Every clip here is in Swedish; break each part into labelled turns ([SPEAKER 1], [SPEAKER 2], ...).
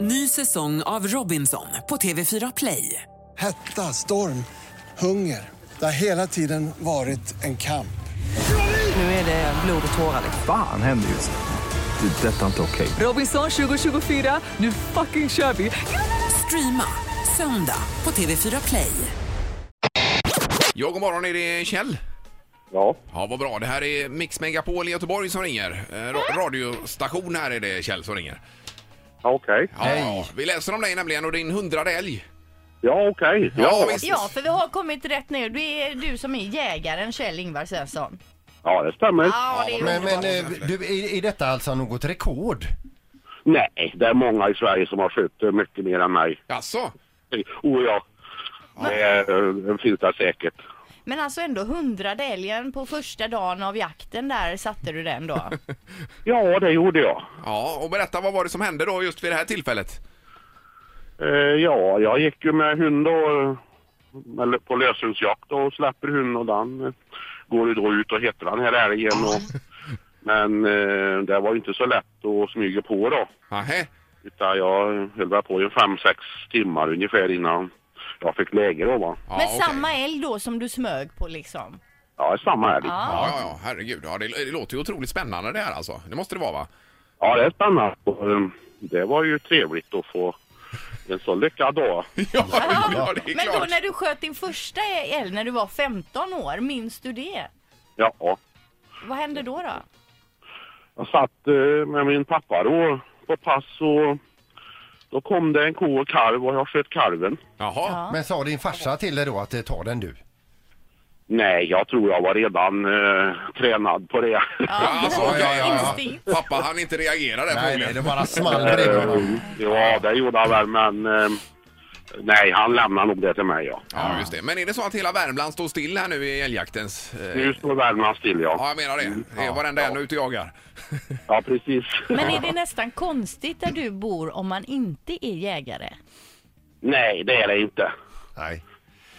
[SPEAKER 1] Ny säsong av Robinson på TV4 Play.
[SPEAKER 2] Hetta, storm, hunger. Det har hela tiden varit en kamp.
[SPEAKER 1] Nu är det blod och tårar. liksom.
[SPEAKER 3] Fan händer just nu. Det. är Detta är inte okej.
[SPEAKER 1] Robinson 2024, nu fucking kör vi! Streama söndag på TV4 Play.
[SPEAKER 4] Ja, god morgon, är det Kjell?
[SPEAKER 5] Ja,
[SPEAKER 4] Ja, vad bra. Det här är Mix Megapol i Göteborg som ringer. Eh, ra- radiostation här är det Kjell som ringer.
[SPEAKER 5] okej.
[SPEAKER 4] Ja, Vi läser om dig nämligen och din hundrade älg.
[SPEAKER 5] Ja, okej.
[SPEAKER 4] Ja,
[SPEAKER 5] Ja.
[SPEAKER 4] visst.
[SPEAKER 6] Ja, för vi har kommit rätt ner. Det är du som är jägaren Kjell-Ingvar Svensson.
[SPEAKER 5] ja, det stämmer.
[SPEAKER 6] Ja, det är
[SPEAKER 7] Men, men
[SPEAKER 4] Ja,
[SPEAKER 7] eh, du, är, är detta alltså något rekord?
[SPEAKER 5] Nej, det är många i Sverige som har skjutit mycket mer än mig.
[SPEAKER 4] Jaså?
[SPEAKER 5] Oh ja, det är, eh, finns det säkert.
[SPEAKER 6] Men alltså ändå hundrade älgen på första dagen av jakten där satte du den då.
[SPEAKER 5] Ja, det gjorde jag.
[SPEAKER 4] Ja, och berätta vad var det som hände då just vid det här tillfället?
[SPEAKER 5] Eh, ja, jag gick ju med hund då, eh, eller på löshundsjakt och släpper hund och den eh, går ju då ut och hittar den här älgen. Och, men eh, det var ju inte så lätt att smyga på då.
[SPEAKER 4] Nähä?
[SPEAKER 5] Utan jag höll väl på i fem sex timmar ungefär innan jag fick läge då va.
[SPEAKER 4] Ja,
[SPEAKER 6] men
[SPEAKER 4] okej.
[SPEAKER 6] samma älg då som du smög på liksom.
[SPEAKER 5] Ja, samma älg.
[SPEAKER 6] Ja.
[SPEAKER 4] Ja, ja, ja, herregud. Ja, det, det låter ju otroligt spännande det här alltså. Det måste det vara va?
[SPEAKER 5] Ja, det är spännande. Och, um, Det var ju trevligt att få en så lyckad dag.
[SPEAKER 4] Ja, ja det är
[SPEAKER 6] Men då
[SPEAKER 4] klart.
[SPEAKER 6] när du sköt din första älg när du var 15 år, minns du det?
[SPEAKER 5] Ja, ja.
[SPEAKER 6] Vad hände då då?
[SPEAKER 5] jag satt eh, med min pappa då på pass och då kom det en ko och kalv och jag sköt kalven.
[SPEAKER 4] Jaha.
[SPEAKER 6] Ja.
[SPEAKER 7] Men sa din farsa till dig då att eh, ta den du?
[SPEAKER 5] Nej, jag tror jag var redan eh, tränad på det.
[SPEAKER 4] Ja, alltså, ja, ja, ja.
[SPEAKER 6] Instinkt.
[SPEAKER 4] Pappa han inte reagera där
[SPEAKER 7] Nej, nej,
[SPEAKER 4] förmodligen.
[SPEAKER 7] det bara small bredvid honom.
[SPEAKER 5] Mm. ja, det gjorde han väl, men eh, nej, han lämnar nog det till mig. Ja.
[SPEAKER 4] Ja, just det. Men är det så att hela Värmland står still här nu i älgjaktens... eh,
[SPEAKER 5] Nu står Värmland still,
[SPEAKER 4] Ja,
[SPEAKER 5] ja.
[SPEAKER 4] jag menar det. Det är varenda en ute och jagar.
[SPEAKER 5] Ja, precis.
[SPEAKER 6] Men är det nästan konstigt där du bor om man inte är jägare?
[SPEAKER 5] Nej, det är det inte.
[SPEAKER 7] Nej.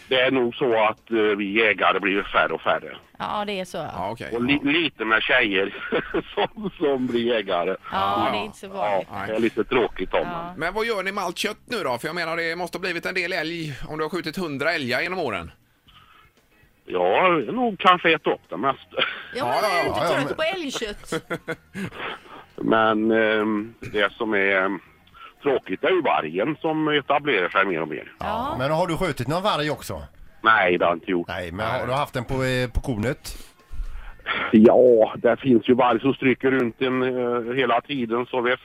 [SPEAKER 5] Det är nog så att eh, vi jägare blir färre och färre.
[SPEAKER 6] Ja, det är så. Ja,
[SPEAKER 4] Ja, okej.
[SPEAKER 5] Och li lite med tjejer som, som blir jägare.
[SPEAKER 6] det är inte så
[SPEAKER 5] Ja,
[SPEAKER 6] vanligt.
[SPEAKER 5] det är lite tråkigt om ja.
[SPEAKER 4] Men vad gör ni med allt kött nu då? För jag menar det måste ha blivit en del älg om du har skjutit hundra älgar genom åren.
[SPEAKER 5] Jag har nog kanske ätit upp det mest.
[SPEAKER 6] Ja, men jag är
[SPEAKER 7] ja,
[SPEAKER 6] inte
[SPEAKER 7] ja,
[SPEAKER 6] trött på älgkött.
[SPEAKER 5] Men ehm, det som är ehm, tråkigt är ju vargen som etablerar sig mer och mer.
[SPEAKER 6] Ja.
[SPEAKER 7] Men har du skjutit någon varg också?
[SPEAKER 5] Nej, det har jag inte gjort.
[SPEAKER 7] Nej, men har du haft den på, eh, på kornet?
[SPEAKER 5] Ja, det finns ju varg som stryker runt en eh, hela tiden så visst.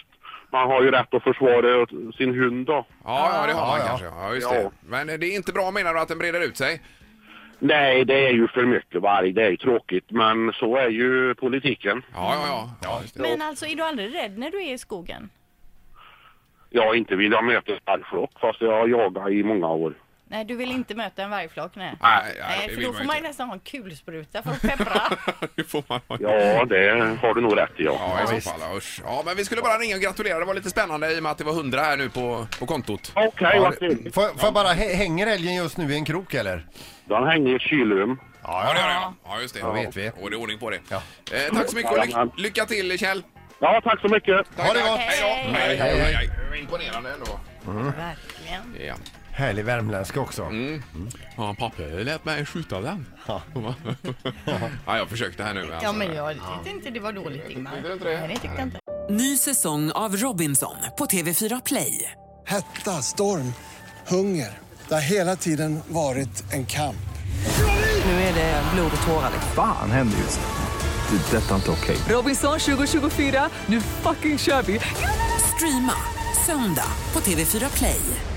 [SPEAKER 5] Man har ju rätt att försvara sin hund då.
[SPEAKER 4] Ja, ja det har man
[SPEAKER 7] Ja, ja.
[SPEAKER 4] kanske. Ja, just
[SPEAKER 5] Ja.
[SPEAKER 4] det. Men det är inte bra menar du att den breder ut sig?
[SPEAKER 5] Nej, det är ju för mycket varg. Det är ju tråkigt, men så är ju politiken.
[SPEAKER 4] Ja, ja, ja. ja just det.
[SPEAKER 6] Men alltså, är du aldrig rädd när du är i skogen?
[SPEAKER 5] Jag inte vill jag möta en vargflock fast jag har jagat i många år.
[SPEAKER 6] Nej, du vill inte möta en vargflock, nej.
[SPEAKER 4] Nej, ja,
[SPEAKER 6] Nej, för
[SPEAKER 4] vill
[SPEAKER 6] då får man ju
[SPEAKER 4] inte.
[SPEAKER 6] nästan ha en kulspruta för att peppra.
[SPEAKER 4] Det får man ha.
[SPEAKER 5] Ja, det har du nog rätt i. Ja.
[SPEAKER 4] Ja, i så fall. ja, Usch. Ja, men vi skulle bara ringa och gratulera. Det var lite spännande i och med att det var hundra här nu på, på kontot.
[SPEAKER 5] Okej,
[SPEAKER 7] Har
[SPEAKER 5] vad
[SPEAKER 7] du-
[SPEAKER 5] trevligt.
[SPEAKER 7] Får, får jag bara, hä- hänger älgen just nu i en krok eller?
[SPEAKER 5] Den hänger i ett kylrum.
[SPEAKER 4] Ja, det
[SPEAKER 7] Ja,
[SPEAKER 4] gör det. Ja, just det. Ja,
[SPEAKER 7] vet vi.
[SPEAKER 4] Och det är ordning på det.
[SPEAKER 7] Ja.
[SPEAKER 4] Eh, tack så mycket och ly-
[SPEAKER 5] Jajamän.
[SPEAKER 4] lycka till Kjell.
[SPEAKER 5] Ja, tack så mycket.
[SPEAKER 7] Ha det gott!
[SPEAKER 4] Hej då. Hej,
[SPEAKER 6] Hej.
[SPEAKER 4] hej, hej, hej. Det var Imponerande ändå.
[SPEAKER 6] Verkligen.
[SPEAKER 4] Ja.
[SPEAKER 7] Härlig värmländska också.
[SPEAKER 4] Ja, pappa lät mig skjuta den. Ja. jag försökte här nu. Alltså.
[SPEAKER 6] Ja, men jag tyckte inte det var dåligt, Ingmar.
[SPEAKER 4] Tyckte du inte det?
[SPEAKER 6] Nej, det tyckte jag inte.
[SPEAKER 1] Ny säsong av Robinson på TV4 Play.
[SPEAKER 2] Hetta, storm, hunger. Det har hela tiden varit en kamp.
[SPEAKER 8] Nu är det blod och tårar.
[SPEAKER 1] liksom.
[SPEAKER 3] Fan händer just nu. Det. är Detta är inte okej.
[SPEAKER 8] Robinson 2024, nu fucking kör vi!
[SPEAKER 1] Streama söndag på TV4 Play.